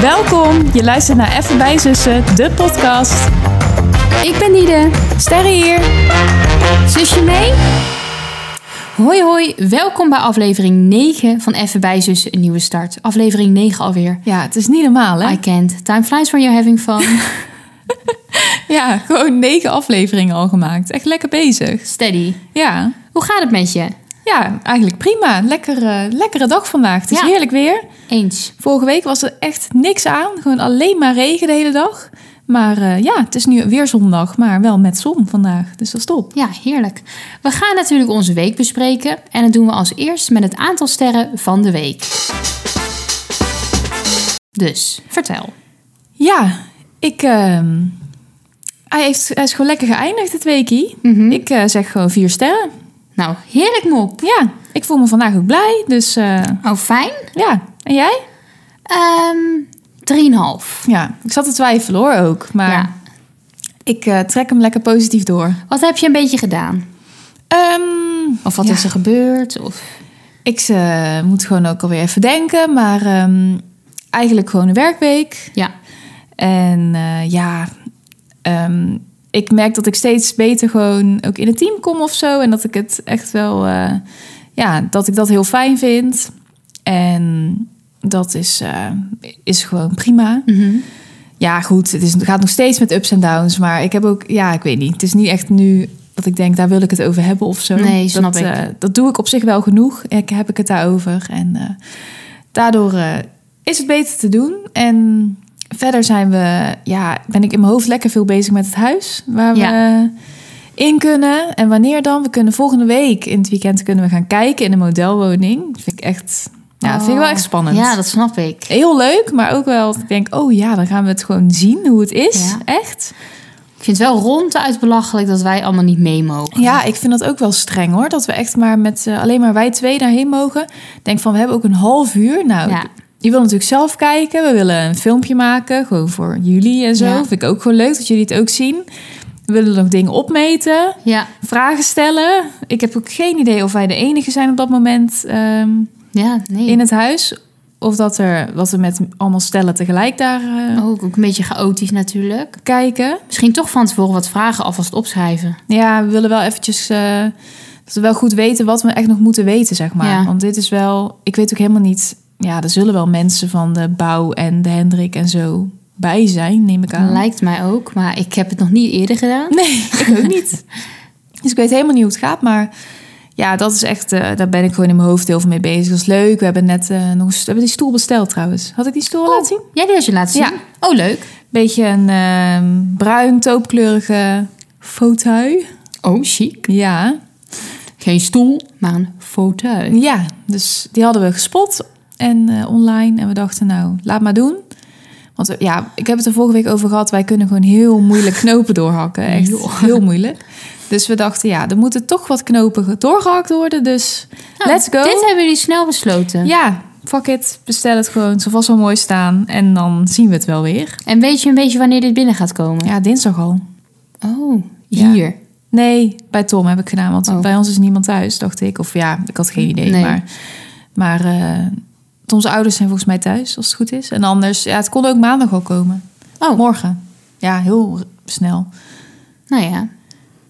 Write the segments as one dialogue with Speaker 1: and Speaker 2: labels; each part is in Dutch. Speaker 1: Welkom, je luistert naar Even bij Zussen, de podcast.
Speaker 2: Ik ben Nide.
Speaker 1: Sterre hier.
Speaker 2: Zusje mee? Hoi hoi, welkom bij aflevering 9 van Even bij Zussen, een nieuwe start. Aflevering 9 alweer.
Speaker 1: Ja, het is niet normaal hè?
Speaker 2: I can't. Time flies when you're having fun.
Speaker 1: Ja, gewoon negen afleveringen al gemaakt. Echt lekker bezig.
Speaker 2: Steady.
Speaker 1: Ja,
Speaker 2: Hoe gaat het met je?
Speaker 1: ja eigenlijk prima. Lekker, eh, lekkere dag vandaag. Het is
Speaker 2: Ja.
Speaker 1: heerlijk weer.
Speaker 2: Eens.
Speaker 1: Vorige week was er echt niks aan. Gewoon alleen maar regen de hele dag. Maar eh, ja, het is nu weer zondag, maar wel met zon vandaag. Dus dat is top.
Speaker 2: Ja, heerlijk. We gaan natuurlijk onze week bespreken. En dat doen we als eerst met het aantal sterren van de week. Dus, vertel.
Speaker 1: Ja, ik. ehm, hij, heeft, hij is gewoon lekker geëindigd dit weekie. Ik eh, zeg gewoon vier sterren.
Speaker 2: Nou, heerlijk mop.
Speaker 1: Ja, ik voel me vandaag ook blij. Dus eh,
Speaker 2: Oh, fijn.
Speaker 1: ja, en jij?
Speaker 2: Ehm 3,5.
Speaker 1: Ja, ik zat te twijfelen hoor ook. Maar
Speaker 2: Ja.
Speaker 1: ik eh, trek hem lekker positief door.
Speaker 2: Wat heb je een beetje gedaan?
Speaker 1: Ehm,
Speaker 2: Of wat
Speaker 1: Ja.
Speaker 2: is er gebeurd? Of...
Speaker 1: ik eh, moet gewoon ook alweer even denken. Maar ehm, eigenlijk gewoon een werkweek.
Speaker 2: Ja.
Speaker 1: En eh, ja, ehm, ik merk dat ik steeds beter gewoon ook in het team kom of zo. En dat ik het echt wel, eh, ja, dat ik dat heel fijn vind. En dat is, eh, is gewoon prima.
Speaker 2: Mhm.
Speaker 1: Ja, goed, het, is, het gaat nog steeds met ups en downs. Maar ik heb ook, ja, ik weet niet. Het is niet echt nu dat ik denk, daar wil ik het over hebben of zo.
Speaker 2: Nee, snap
Speaker 1: dat,
Speaker 2: ik.
Speaker 1: eh, dat doe ik op zich wel genoeg. Ik, heb ik het daarover. En eh, daardoor eh, is het beter te doen. En verder zijn we, ja, ben ik in mijn hoofd lekker veel bezig met het huis. Waar we in kunnen. En wanneer dan? We kunnen volgende week in het weekend kunnen we gaan kijken in een modelwoning. Dat vind ik echt, ja, dat vind ik wel
Speaker 2: Oh.
Speaker 1: echt spannend.
Speaker 2: Ja, dat snap ik.
Speaker 1: Heel leuk, maar ook wel dat ik denk, oh ja, dan gaan we het gewoon zien hoe het is.
Speaker 2: Ja.
Speaker 1: Echt.
Speaker 2: Ik vind het wel ronduit belachelijk dat wij allemaal niet mee mogen.
Speaker 1: Ja, ik vind dat ook wel streng hoor. Dat we echt maar met eh, alleen maar wij twee daarheen mogen. Ik Denk van, we hebben ook een half uur. Nou,
Speaker 2: Ja.
Speaker 1: je wil natuurlijk zelf kijken. We willen een filmpje maken, gewoon voor jullie en zo.
Speaker 2: Ja.
Speaker 1: Vind ik ook gewoon leuk dat jullie het ook zien. We willen nog dingen opmeten,
Speaker 2: Ja,
Speaker 1: vragen stellen. Ik heb ook geen idee of wij de enige zijn op dat moment ehm,
Speaker 2: ja nee.
Speaker 1: in het huis. Of dat er, wat er met allemaal stellen tegelijk daar eh,
Speaker 2: Ook, ook een beetje chaotisch natuurlijk.
Speaker 1: kijken.
Speaker 2: Misschien toch van tevoren wat vragen alvast opschrijven.
Speaker 1: Ja, we willen wel eventjes... eh, dat we wel goed weten wat we echt nog moeten weten, zeg maar.
Speaker 2: Ja.
Speaker 1: Want dit is wel... Ik weet ook helemaal niet... Ja, er zullen wel mensen van de bouw en de Hendrik en zo bij zijn, neem ik aan.
Speaker 2: Lijkt mij ook, maar ik heb het nog niet eerder gedaan.
Speaker 1: Nee, ik ook niet. Dus ik weet helemaal niet hoe het gaat, maar... Ja, dat is echt... eh, daar ben ik gewoon in mijn hoofd heel veel mee bezig. Dat is leuk. We hebben net eh, nog een, st- we hebben die stoel besteld trouwens. Had ik die stoel al laten zien?
Speaker 2: Oh, Jij die had je laten zien?
Speaker 1: Ja.
Speaker 2: Oh, leuk.
Speaker 1: Beetje een eh, bruin, toopkleurige fauteuil.
Speaker 2: Oh, chic.
Speaker 1: Ja,
Speaker 2: Geen stoel, maar een fauteuil.
Speaker 1: Ja, dus die hadden we gespot en eh, online. En we dachten, nou, laat maar doen. Want eh, ja, ik heb het er vorige week over gehad. Wij kunnen gewoon heel moeilijk knopen doorhakken. Echt
Speaker 2: Joh.
Speaker 1: heel moeilijk. Dus we dachten, ja, er moeten toch wat knopen doorgehakt worden. Dus
Speaker 2: Nou,
Speaker 1: let's go.
Speaker 2: Dit hebben jullie snel besloten.
Speaker 1: Ja, fuck it. Bestel het gewoon. Het zal vast wel mooi staan. En dan zien we het wel weer.
Speaker 2: En weet je een beetje wanneer dit binnen gaat komen?
Speaker 1: Ja, dinsdag al.
Speaker 2: Oh,
Speaker 1: Ja.
Speaker 2: hier.
Speaker 1: Nee, bij Tom heb ik gedaan. Want
Speaker 2: Oh.
Speaker 1: bij ons is niemand thuis, dacht ik. Of ja, ik had geen idee.
Speaker 2: Nee.
Speaker 1: Maar, maar eh, Toms ouders zijn volgens mij thuis, als het goed is. En anders, ja, het kon ook maandag al komen.
Speaker 2: Oh.
Speaker 1: Morgen. Ja, heel r- snel.
Speaker 2: Nou ja.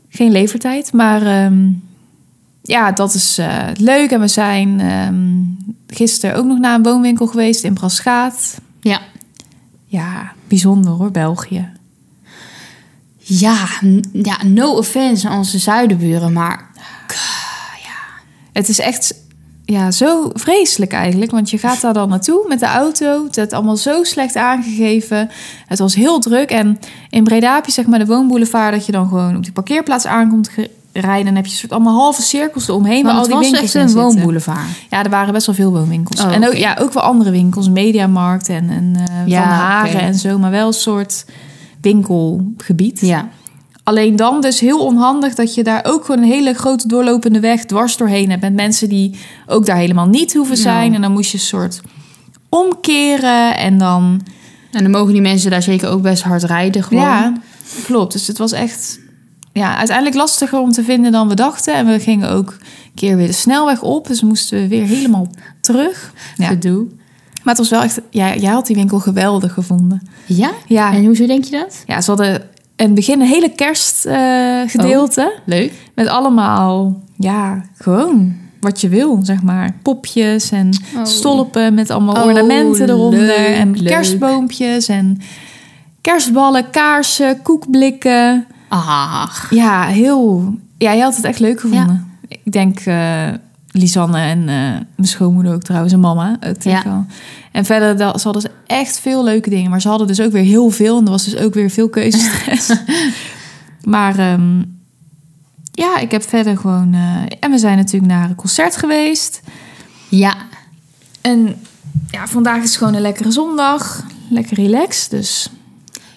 Speaker 1: Geen levertijd, maar ehm, ja, dat is eh, leuk. En we zijn ehm gisteren ook nog naar een woonwinkel geweest in Braschaat.
Speaker 2: Ja.
Speaker 1: Ja, bijzonder hoor, België.
Speaker 2: Ja, n- ja, no offense aan onze zuidenburen, maar
Speaker 1: Het is echt ja, zo vreselijk eigenlijk. Want je gaat daar dan naartoe met de auto. Het is allemaal zo slecht aangegeven. Het was heel druk. En in Breda heb je zeg maar de woonboulevard... dat je dan gewoon op die parkeerplaats aankomt ge- rijden. En heb je soort allemaal halve cirkels eromheen... waar al
Speaker 2: Want
Speaker 1: die
Speaker 2: het was
Speaker 1: winkels
Speaker 2: echt
Speaker 1: in
Speaker 2: een
Speaker 1: zitten.
Speaker 2: woonboulevard.
Speaker 1: Ja, er waren best wel veel woonwinkels.
Speaker 2: Oh,
Speaker 1: en ook,
Speaker 2: oké.
Speaker 1: ja, ook wel andere winkels. Mediamarkt en, en eh,
Speaker 2: Ja,
Speaker 1: Van Haren
Speaker 2: oké.
Speaker 1: en zo. Maar wel een soort winkelgebied.
Speaker 2: Ja.
Speaker 1: Alleen dan dus heel onhandig dat je daar ook gewoon een hele grote doorlopende weg dwars doorheen hebt. Met mensen die ook daar helemaal niet hoeven zijn.
Speaker 2: Nou.
Speaker 1: En dan moest je een soort omkeren en dan...
Speaker 2: En dan mogen die mensen daar zeker ook best hard rijden gewoon.
Speaker 1: Ja, klopt. Dus het was echt ja, uiteindelijk lastiger om te vinden dan we dachten. En we gingen ook een keer weer de snelweg op. Dus moesten we weer helemaal terug. Ja,
Speaker 2: Gedoe.
Speaker 1: Maar het was wel echt... Ja, jij had die winkel geweldig gevonden.
Speaker 2: Ja?
Speaker 1: Ja,
Speaker 2: En hoezo denk je dat?
Speaker 1: ja ze hadden in het begin een hele kerstgedeelte. gedeelte
Speaker 2: Leuk.
Speaker 1: Met allemaal, ja, gewoon wat je wil, zeg maar. Popjes en
Speaker 2: Oh.
Speaker 1: stolpen met allemaal
Speaker 2: Oh,
Speaker 1: ornamenten eronder.
Speaker 2: leuk,
Speaker 1: en
Speaker 2: leuk.
Speaker 1: kerstboompjes en kerstballen, kaarsen, koekblikken.
Speaker 2: Ach.
Speaker 1: Ja, heel... Ja, jij had het echt leuk gevonden. Ik denk eh Lisanne en eh, mijn schoonmoeder ook trouwens en mama ook tegen wel. En verder, da- ze hadden dus echt veel leuke dingen. Maar ze hadden dus ook weer heel veel. En er was dus ook weer veel keuzestress. maar ehm, ja, ik heb verder gewoon... eh, en we zijn natuurlijk naar een concert geweest.
Speaker 2: Ja.
Speaker 1: En ja, vandaag is gewoon een lekkere zondag. Lekker relaxed, dus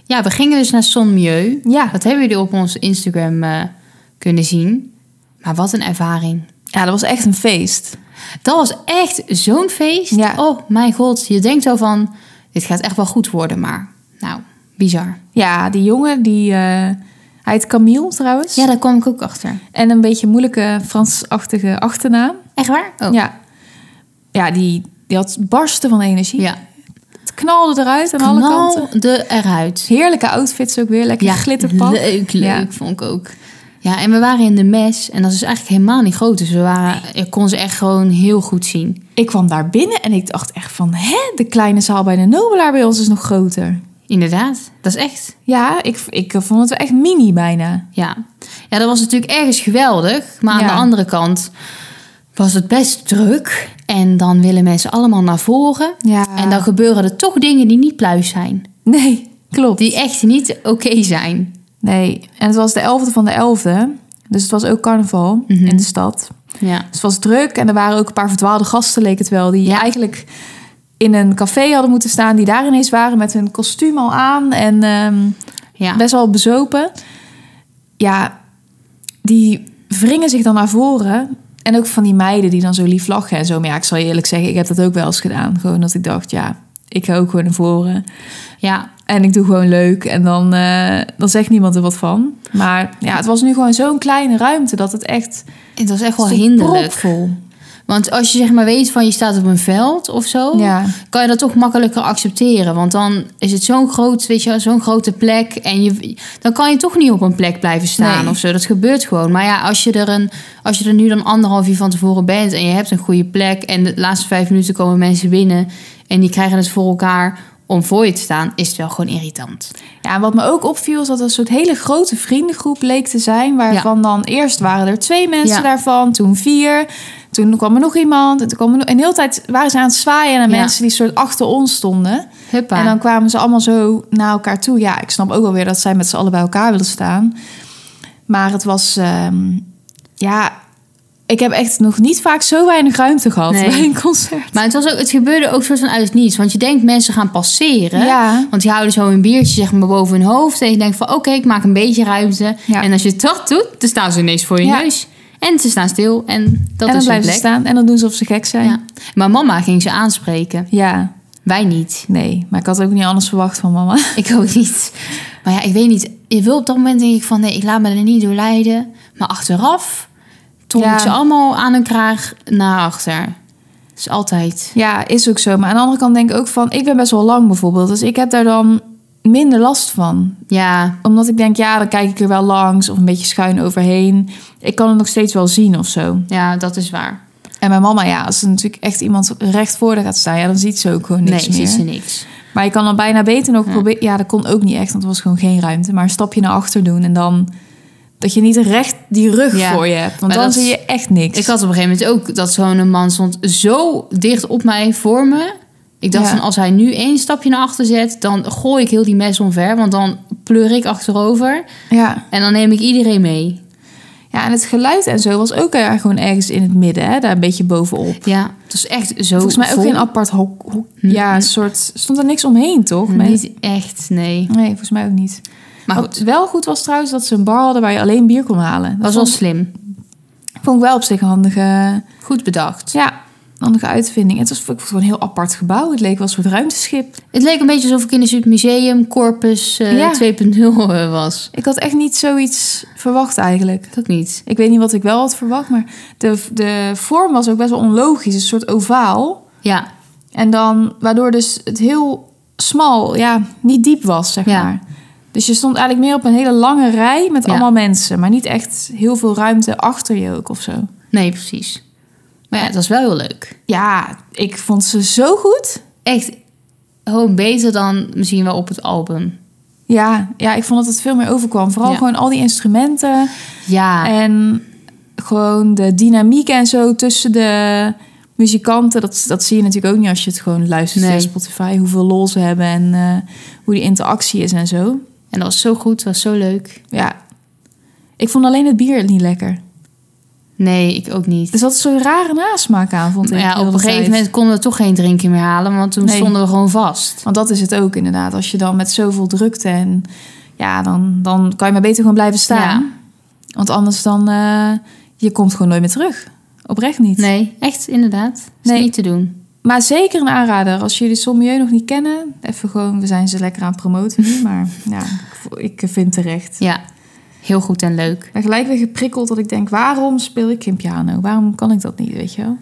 Speaker 2: Ja, we gingen dus naar Son Mieu.
Speaker 1: ja.
Speaker 2: Dat hebben jullie op ons Instagram eh, kunnen zien. Maar wat een ervaring.
Speaker 1: Ja, dat was echt een feest.
Speaker 2: Dat was echt zo'n feest.
Speaker 1: Ja.
Speaker 2: Oh mijn god, je denkt zo van, dit gaat echt wel goed worden, maar nou, bizar.
Speaker 1: Ja, die jongen, die... eh, hij heet Camille trouwens.
Speaker 2: Ja, daar kwam ik ook achter.
Speaker 1: En een beetje moeilijke Fransachtige achternaam.
Speaker 2: Echt waar? Oh.
Speaker 1: Ja, ja die, die had barsten van energie.
Speaker 2: ja.
Speaker 1: Het knalde eruit aan alle kanten.
Speaker 2: de eruit.
Speaker 1: Heerlijke outfits ook weer. Lekker glitterpak.
Speaker 2: Leuk, leuk
Speaker 1: Ja.
Speaker 2: vond ik ook. Ja, en we waren in de mes en dat is eigenlijk helemaal niet groot. Dus we waren, ik kon ze echt gewoon heel goed zien.
Speaker 1: Ik kwam daar binnen en ik dacht echt van... hè, de kleine zaal bij de Nobelaar bij ons is nog groter.
Speaker 2: Inderdaad, dat is echt
Speaker 1: Ja, ik, ik vond het wel echt mini bijna.
Speaker 2: Ja. ja, dat was natuurlijk ergens geweldig. Maar aan
Speaker 1: Ja.
Speaker 2: de andere kant was het best druk. En dan willen mensen allemaal naar voren.
Speaker 1: Ja.
Speaker 2: En dan gebeuren er toch dingen die niet pluis zijn.
Speaker 1: Nee, klopt.
Speaker 2: Die echt niet oké zijn.
Speaker 1: Nee, en het was de 11e van de 11e. Dus het was ook carnaval
Speaker 2: Mhm.
Speaker 1: in de stad.
Speaker 2: Ja.
Speaker 1: Dus het was druk en er waren ook een paar verdwaalde gasten, leek het wel. Die
Speaker 2: Ja.
Speaker 1: eigenlijk in een café hadden moeten staan, die daar ineens waren met hun kostuum al aan en ehm,
Speaker 2: ja.
Speaker 1: best wel bezopen. Ja, die wringen zich dan naar voren. En ook van die meiden die dan zo lief lachen en zo. Maar ja, ik zal je eerlijk zeggen, ik heb dat ook wel eens gedaan. Gewoon dat ik dacht, ja, ik ga ook gewoon naar voren.
Speaker 2: ja.
Speaker 1: En ik doe gewoon leuk. En dan, eh, dan zegt niemand er wat van. Maar ja, het was nu gewoon zo'n kleine ruimte dat het echt...
Speaker 2: Het was echt wel
Speaker 1: stond
Speaker 2: hinderlijk.
Speaker 1: propvol.
Speaker 2: Want als je zeg maar weet van je staat op een veld of zo.
Speaker 1: Ja.
Speaker 2: Kan je dat toch makkelijker accepteren. Want dan is het zo'n groot, weet je, wel, zo'n grote plek. En je, dan kan je toch niet op een plek blijven staan
Speaker 1: Nee.
Speaker 2: of zo. Dat gebeurt gewoon. Maar ja, als je, er een, als je er nu dan anderhalf uur van tevoren bent. En je hebt een goede plek. En de laatste vijf minuten komen mensen binnen. En die krijgen het voor elkaar om voor je te staan. Is het wel gewoon irritant.
Speaker 1: Ja, en wat me ook opviel is dat er een soort hele grote vriendengroep leek te zijn. Waarvan dan eerst waren er twee mensen
Speaker 2: Ja.
Speaker 1: daarvan, toen vier. Toen kwam er nog iemand. En, toen kwam er nog... en de hele tijd waren ze aan het zwaaien naar
Speaker 2: Ja.
Speaker 1: mensen die soort achter ons stonden.
Speaker 2: Huppa.
Speaker 1: En dan kwamen ze allemaal zo naar elkaar toe. Ja, ik snap ook wel weer dat zij met z'n allen bij elkaar willen staan. Maar het was... ehm, ja, ik heb echt nog niet vaak zo weinig ruimte gehad
Speaker 2: Nee.
Speaker 1: bij een concert.
Speaker 2: Maar het, was ook, het gebeurde ook soort van uit het niets. Want je denkt mensen gaan passeren.
Speaker 1: Ja.
Speaker 2: Want die houden zo een biertje zeg maar, boven hun hoofd. En je denkt van oké, ik maak een beetje ruimte.
Speaker 1: Ja.
Speaker 2: En als je dat doet, dan staan ze ineens voor je
Speaker 1: Ja.
Speaker 2: neus. En ze staan stil. En
Speaker 1: en dan
Speaker 2: dat is hun
Speaker 1: blijven ze
Speaker 2: plek.
Speaker 1: staan en dan doen ze of ze gek zijn.
Speaker 2: Ja. Maar mama ging ze aanspreken.
Speaker 1: ja,
Speaker 2: Wij niet.
Speaker 1: nee. Maar ik had ook niet anders verwacht van mama.
Speaker 2: Ik ook niet. Maar ja, ik weet niet. Je wil op dat moment denk ik van nee, ik laat me er niet door leiden. Maar achteraf trok
Speaker 1: Ja.
Speaker 2: ik ze allemaal aan hun kraag naar achter. Dat is altijd.
Speaker 1: Ja, is ook zo. Maar aan de andere kant denk ik ook van... ik ben best wel lang bijvoorbeeld. Dus ik heb daar dan minder last van.
Speaker 2: Ja,
Speaker 1: Omdat ik denk, ja, dan kijk ik er wel langs... of een beetje schuin overheen. Ik kan het nog steeds wel zien of zo.
Speaker 2: ja, dat is waar.
Speaker 1: En mijn mama, ja, als er natuurlijk echt iemand recht voor haar gaat staan... ja, dan ziet ze ook gewoon niks
Speaker 2: nee,
Speaker 1: meer.
Speaker 2: ziet ze niks.
Speaker 1: Maar je kan dan bijna beter nog
Speaker 2: Ja.
Speaker 1: proberen... Ja, dat kon ook niet echt, want er was gewoon geen ruimte. Maar een stapje naar achter doen en dan... dat je niet recht die rug
Speaker 2: Ja.
Speaker 1: voor je hebt. Want
Speaker 2: Maar
Speaker 1: dan
Speaker 2: dat-
Speaker 1: zie je echt niks.
Speaker 2: Ik had op een gegeven moment ook dat zo'n man stond zo dicht op mij voor me. Ik dacht
Speaker 1: Ja.
Speaker 2: van als hij nu één stapje naar achter zet, dan gooi ik heel die mes omver. Want dan pleur ik achterover
Speaker 1: Ja.
Speaker 2: en dan neem ik iedereen mee.
Speaker 1: ja, en het geluid en zo was ook eh, gewoon ergens in het midden. Hè, daar een beetje bovenop.
Speaker 2: Ja, het was echt zo
Speaker 1: Volgens mij ook
Speaker 2: Oh, vol. Mhm.
Speaker 1: geen apart hok. hok-
Speaker 2: Nee.
Speaker 1: ja, een soort. Stond er niks omheen, toch? Met-
Speaker 2: Niet echt, nee.
Speaker 1: Nee, volgens mij ook niet.
Speaker 2: Mhm. Maar
Speaker 1: Wat
Speaker 2: goed,
Speaker 1: wel goed was trouwens, dat ze een bar hadden waar je alleen bier kon halen. Dat
Speaker 2: was wel slim.
Speaker 1: vond, vond ik wel op zich een handige,
Speaker 2: Goed bedacht.
Speaker 1: ja, handige uitvinding. Het was ik vond het gewoon een heel apart gebouw. Het leek wel een soort ruimteschip.
Speaker 2: Het leek een beetje alsof ik in een soort museum Corpus eh,
Speaker 1: Ja.
Speaker 2: 2.0 eh, was.
Speaker 1: Ik had echt niet zoiets verwacht eigenlijk.
Speaker 2: Ik ook niet.
Speaker 1: Ik weet niet wat ik wel had verwacht, maar de, de vorm was ook best wel onlogisch. Een soort ovaal.
Speaker 2: Ja,
Speaker 1: En dan, waardoor dus het heel smal, ja, niet diep was, zeg
Speaker 2: Ja.
Speaker 1: maar. Dus je stond eigenlijk meer op een hele lange rij met
Speaker 2: Ja.
Speaker 1: allemaal mensen. Maar niet echt heel veel ruimte achter je ook of zo.
Speaker 2: Nee, precies. Maar ja, het was wel heel leuk.
Speaker 1: Ja, ik vond ze zo goed.
Speaker 2: Echt gewoon beter dan misschien wel op het album.
Speaker 1: Ja, ja ik vond dat het veel meer overkwam. Vooral
Speaker 2: Ja.
Speaker 1: gewoon al die instrumenten. Eh.
Speaker 2: Ja,
Speaker 1: En gewoon de dynamiek en zo tussen de muzikanten. Dat, dat zie je natuurlijk ook niet als je het gewoon luistert
Speaker 2: Nee.
Speaker 1: via Spotify. Hoeveel lol ze hebben en eh, hoe die interactie is en zo.
Speaker 2: en dat was zo goed, dat was zo leuk.
Speaker 1: Ja. Ik vond alleen het bier niet lekker.
Speaker 2: Nee, ik ook niet.
Speaker 1: Er zat zo'n rare nasmaak aan, vond ik.
Speaker 2: Maar ja,
Speaker 1: heel
Speaker 2: op
Speaker 1: de
Speaker 2: een gegeven
Speaker 1: tijd.
Speaker 2: moment konden we toch geen drinkje meer halen, want toen
Speaker 1: Nee.
Speaker 2: stonden we gewoon vast.
Speaker 1: Want dat is het ook inderdaad. Als je dan met zoveel drukte en... Ja, dan, dan kan je maar beter gewoon blijven staan. Want anders dan... eh, je komt gewoon nooit meer terug. Oprecht niet.
Speaker 2: Nee, echt inderdaad. Is
Speaker 1: Nee.
Speaker 2: niet te doen.
Speaker 1: Maar zeker een aanrader. Als jullie Sommieu nog niet kennen, even gewoon, we zijn ze lekker aan het promoten
Speaker 2: Mhm.
Speaker 1: nu. Maar ja, ik vo- ik vind terecht.
Speaker 2: Ja, heel goed en leuk.
Speaker 1: Ik ben gelijk weer geprikkeld dat ik denk, waarom speel ik geen piano? Waarom kan ik dat niet, weet je wel?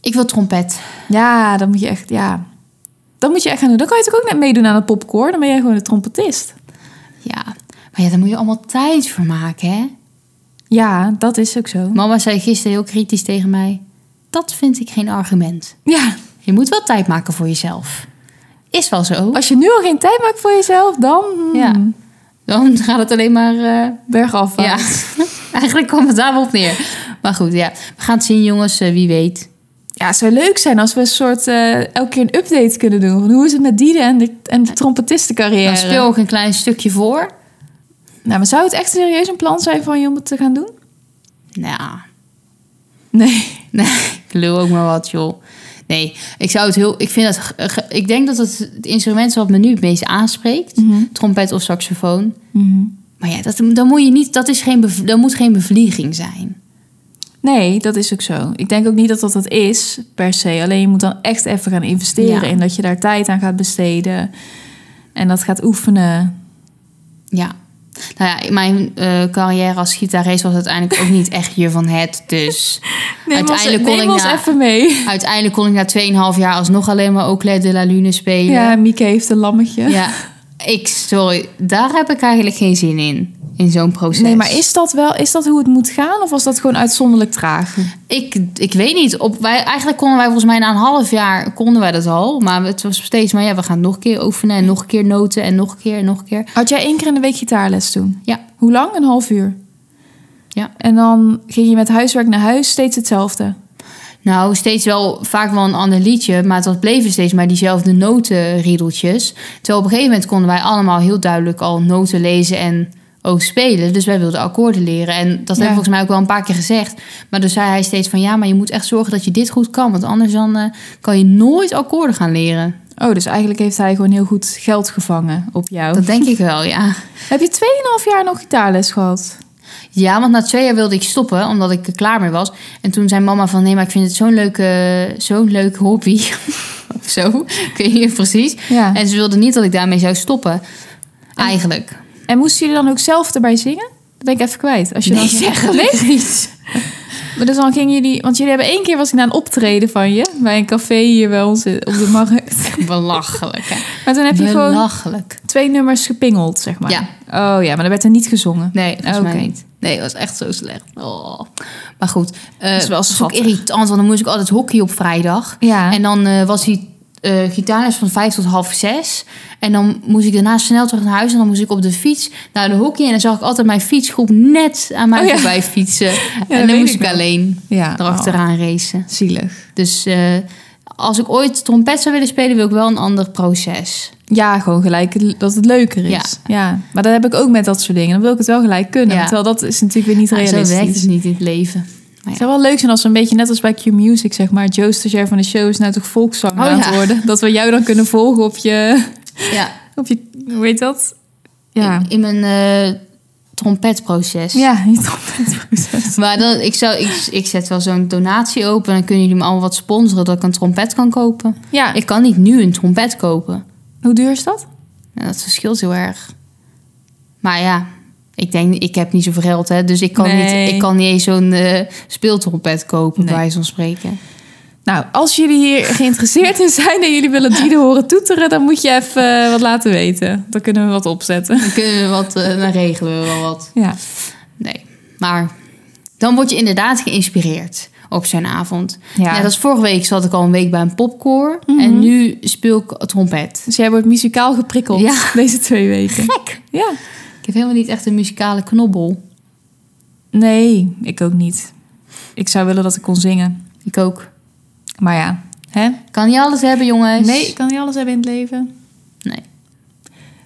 Speaker 2: Ik wil trompet.
Speaker 1: Ja, dan moet je echt, ja. Dan moet je echt gaan doen. Dan kan je toch ook net meedoen aan het popcorn. Dan ben jij gewoon de trompetist.
Speaker 2: Ja, maar ja, daar moet je allemaal tijd voor maken, hè?
Speaker 1: Ja, dat is ook zo.
Speaker 2: Mama zei gisteren heel kritisch tegen mij: Dat vind ik geen argument.
Speaker 1: Ja,
Speaker 2: Je moet wel tijd maken voor jezelf. Is wel zo.
Speaker 1: als je nu al geen tijd maakt voor jezelf, dan hmm,
Speaker 2: Ja. Dan gaat het alleen maar. eh,
Speaker 1: bergaf.
Speaker 2: ja, eigenlijk kwam het daarop neer. Maar goed, ja. We gaan het zien, jongens. eh, wie weet.
Speaker 1: Ja, het zou leuk zijn als we een soort eh, elke keer een update kunnen doen. Van hoe is het met Diede en de, en de trompetistencarrière?
Speaker 2: Dan speel ik een klein stukje voor.
Speaker 1: Nou, maar zou het echt serieus een plan zijn van je om het te gaan doen?
Speaker 2: Nou,
Speaker 1: Nee.
Speaker 2: nee, ik lul ook maar wat, joh. Nee, ik zou het heel. Ik, vind dat, ge- ge- ik denk dat het het instrument is wat me nu het meest aanspreekt:
Speaker 1: Mhm.
Speaker 2: trompet of saxofoon. Maar ja, dat, dan moet je niet. Dat, is geen, bev- dat moet geen bevlieging zijn.
Speaker 1: Nee, dat is ook zo. Ik denk ook niet dat dat dat is, per se. Alleen je moet dan echt even gaan investeren
Speaker 2: Ja.
Speaker 1: in dat je daar tijd aan gaat besteden. En dat gaat oefenen.
Speaker 2: Ja. Nou ja, mijn eh, carrière als gitarist was uiteindelijk ook niet echt je van het. Dus
Speaker 1: Neem
Speaker 2: uiteindelijk,
Speaker 1: ons,
Speaker 2: kon
Speaker 1: neem
Speaker 2: ik
Speaker 1: ons
Speaker 2: na,
Speaker 1: even mee.
Speaker 2: uiteindelijk kon ik na 2,5 jaar alsnog alleen maar Oclet de la Lune spelen.
Speaker 1: Ja, Mieke heeft een lammetje.
Speaker 2: Ja. Ik, sorry, daar heb ik eigenlijk geen zin in. In zo'n proces.
Speaker 1: Nee, maar is dat wel, is dat hoe het moet gaan? Of was dat gewoon uitzonderlijk traag?
Speaker 2: Ik, ik weet niet. Op, wij, eigenlijk konden wij volgens mij na een half jaar konden wij dat al. Maar het was steeds maar ja, we gaan nog een keer oefenen. En nog een keer noten. En nog een keer en nog een keer.
Speaker 1: Had jij één keer in de week gitaarles toen?
Speaker 2: Ja.
Speaker 1: Hoe lang? Een half uur.
Speaker 2: Ja.
Speaker 1: En dan ging je met huiswerk naar huis steeds hetzelfde.
Speaker 2: Nou, steeds wel vaak wel een ander liedje, maar het was- bleven steeds maar diezelfde notenriedeltjes. Terwijl op een gegeven moment konden wij allemaal heel duidelijk al noten lezen en ook spelen. Dus wij wilden akkoorden leren. En dat hebben we volgens mij ook wel een paar keer gezegd. Maar toen zei hij steeds van ja, maar je moet echt zorgen dat je dit goed kan. Want anders dan eh, kan je nooit akkoorden gaan leren.
Speaker 1: Oh, dus eigenlijk heeft hij gewoon heel goed geld gevangen op jou.
Speaker 2: Dat denk ik wel, ja.
Speaker 1: Heb je 2,5 jaar nog gitaarles gehad?
Speaker 2: Ja, want na twee jaar wilde ik stoppen, omdat ik er klaar mee was. En toen zei mama van, nee, maar ik vind het zo'n leuke, zo'n leuk hobby. of zo, ik weet niet precies.
Speaker 1: Ja. En,
Speaker 2: En ze wilden niet dat ik daarmee zou stoppen. Eigenlijk.
Speaker 1: moesten jullie dan ook zelf erbij zingen? Dat ben ik even kwijt. Als je dan...
Speaker 2: eigenlijk niet.
Speaker 1: Maar dus dan gingen jullie... Want jullie hebben één keer was ik naar een optreden van je. Bij een café hier bij ons in- op de markt.
Speaker 2: Belachelijk. hè.
Speaker 1: Maar toen heb je gewoon
Speaker 2: Belachelijk.
Speaker 1: twee nummers gepingeld, zeg maar.
Speaker 2: Ja.
Speaker 1: Oh ja, maar dan werd er niet gezongen.
Speaker 2: Nee, volgens mij
Speaker 1: Oké.
Speaker 2: niet. Nee, het was echt zo slecht. Oh. Maar goed. eh,
Speaker 1: Dat is wel
Speaker 2: dat is ook
Speaker 1: schattig.
Speaker 2: irritant, want dan moest ik altijd hockey op vrijdag.
Speaker 1: Ja.
Speaker 2: En dan eh, was die eh gitaarles van vijf tot half zes. En dan moest ik daarna snel terug naar huis. En dan moest ik op de fiets naar de hockey. En dan zag ik altijd mijn fietsgroep net aan mij
Speaker 1: Oh ja.
Speaker 2: voorbij fietsen. en
Speaker 1: weet
Speaker 2: dan moest
Speaker 1: ik
Speaker 2: ik,
Speaker 1: nog.
Speaker 2: alleen
Speaker 1: ja. oh,
Speaker 2: erachteraan racen.
Speaker 1: zielig.
Speaker 2: Dus eh, als ik ooit trompet zou willen spelen, wil ik wel een ander proces.
Speaker 1: Ja, gewoon gelijk dat het leuker is. Ja. Maar dat heb ik ook met dat soort dingen. Dan wil ik het wel gelijk kunnen.
Speaker 2: Ja.
Speaker 1: Terwijl dat is natuurlijk weer niet
Speaker 2: Maar zo
Speaker 1: realistisch.
Speaker 2: werkt het niet in het leven.
Speaker 1: Het zou wel leuk zijn als we een beetje net als bij Q Music, zeg maar. Joe Stagiair van de show is nou toch volkszang
Speaker 2: Oh,
Speaker 1: aan
Speaker 2: ja.
Speaker 1: het worden. Dat we jou dan kunnen volgen op je,
Speaker 2: Ja.
Speaker 1: op je hoe heet dat?
Speaker 2: In, in mijn eh, trompetproces.
Speaker 1: Ja, je trompetproces.
Speaker 2: Maar dan, ik, zou, ik, ik zet wel zo'n donatie open. En dan kunnen jullie me allemaal wat sponsoren dat ik een trompet kan kopen.
Speaker 1: Ja,
Speaker 2: Ik kan niet nu een trompet kopen.
Speaker 1: hoe duur is dat?
Speaker 2: En dat verschilt heel erg. Maar ja, ik denk, ik heb niet zoveel geld. Hè, dus ik kan,
Speaker 1: Nee.
Speaker 2: niet, ik kan niet eens zo'n eh, speeltrompet kopen,
Speaker 1: Nee.
Speaker 2: bij wijze van spreken.
Speaker 1: Nou, als jullie hier geïnteresseerd in zijn en jullie willen Diede horen toeteren, dan moet je even eh, wat laten weten. Dan kunnen we wat opzetten.
Speaker 2: Dan kunnen we wat, eh, dan regelen we wel wat.
Speaker 1: Ja,
Speaker 2: Nee, maar dan word je inderdaad geïnspireerd op zo'n avond.
Speaker 1: Ja.
Speaker 2: Net als vorige week zat ik al een week bij een popcore en nu speel ik trompet.
Speaker 1: dus jij wordt muzikaal geprikkeld
Speaker 2: Ja.
Speaker 1: deze twee weken.
Speaker 2: Gek!
Speaker 1: Ja.
Speaker 2: Ik heb helemaal niet echt een muzikale knobbel.
Speaker 1: Nee, ik ook niet. Ik zou willen dat ik kon zingen.
Speaker 2: Ik ook.
Speaker 1: Maar ja, hè?
Speaker 2: Kan niet alles hebben, jongens.
Speaker 1: Nee, ik kan niet alles hebben in het leven.
Speaker 2: Nee.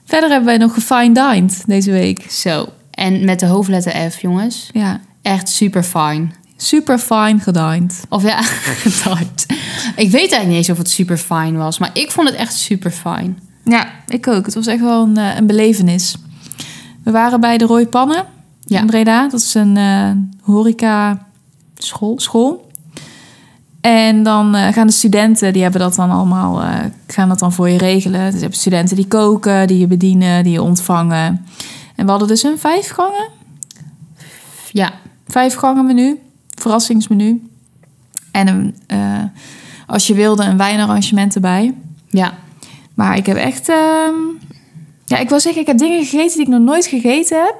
Speaker 1: Verder hebben wij nog gefine dined deze week.
Speaker 2: Zo. En met de hoofdletter F, jongens.
Speaker 1: Ja,
Speaker 2: Echt super fijn.
Speaker 1: super fine gedined.
Speaker 2: Of ja, dat. Ik weet eigenlijk niet eens of het super fijn was, maar ik vond het echt super fijn.
Speaker 1: Ja, ik ook. Het was echt wel een, eh, een belevenis. We waren bij de Rooi Pannen
Speaker 2: Ja.
Speaker 1: in Breda. Dat is een eh, horeca school. school. En dan eh, gaan de studenten, die hebben dat dan allemaal, eh, gaan dat dan voor je regelen. Dus je hebt studenten die koken, die je bedienen, die je ontvangen. En we hadden dus een vijf gangen
Speaker 2: Ja.
Speaker 1: vijf gangen menu, verrassingsmenu. En een, eh, als je wilde, een wijnarrangement erbij.
Speaker 2: Ja.
Speaker 1: Maar ik heb echt. ehm, ja, ik wil zeggen, ik heb dingen gegeten die ik nog nooit gegeten heb.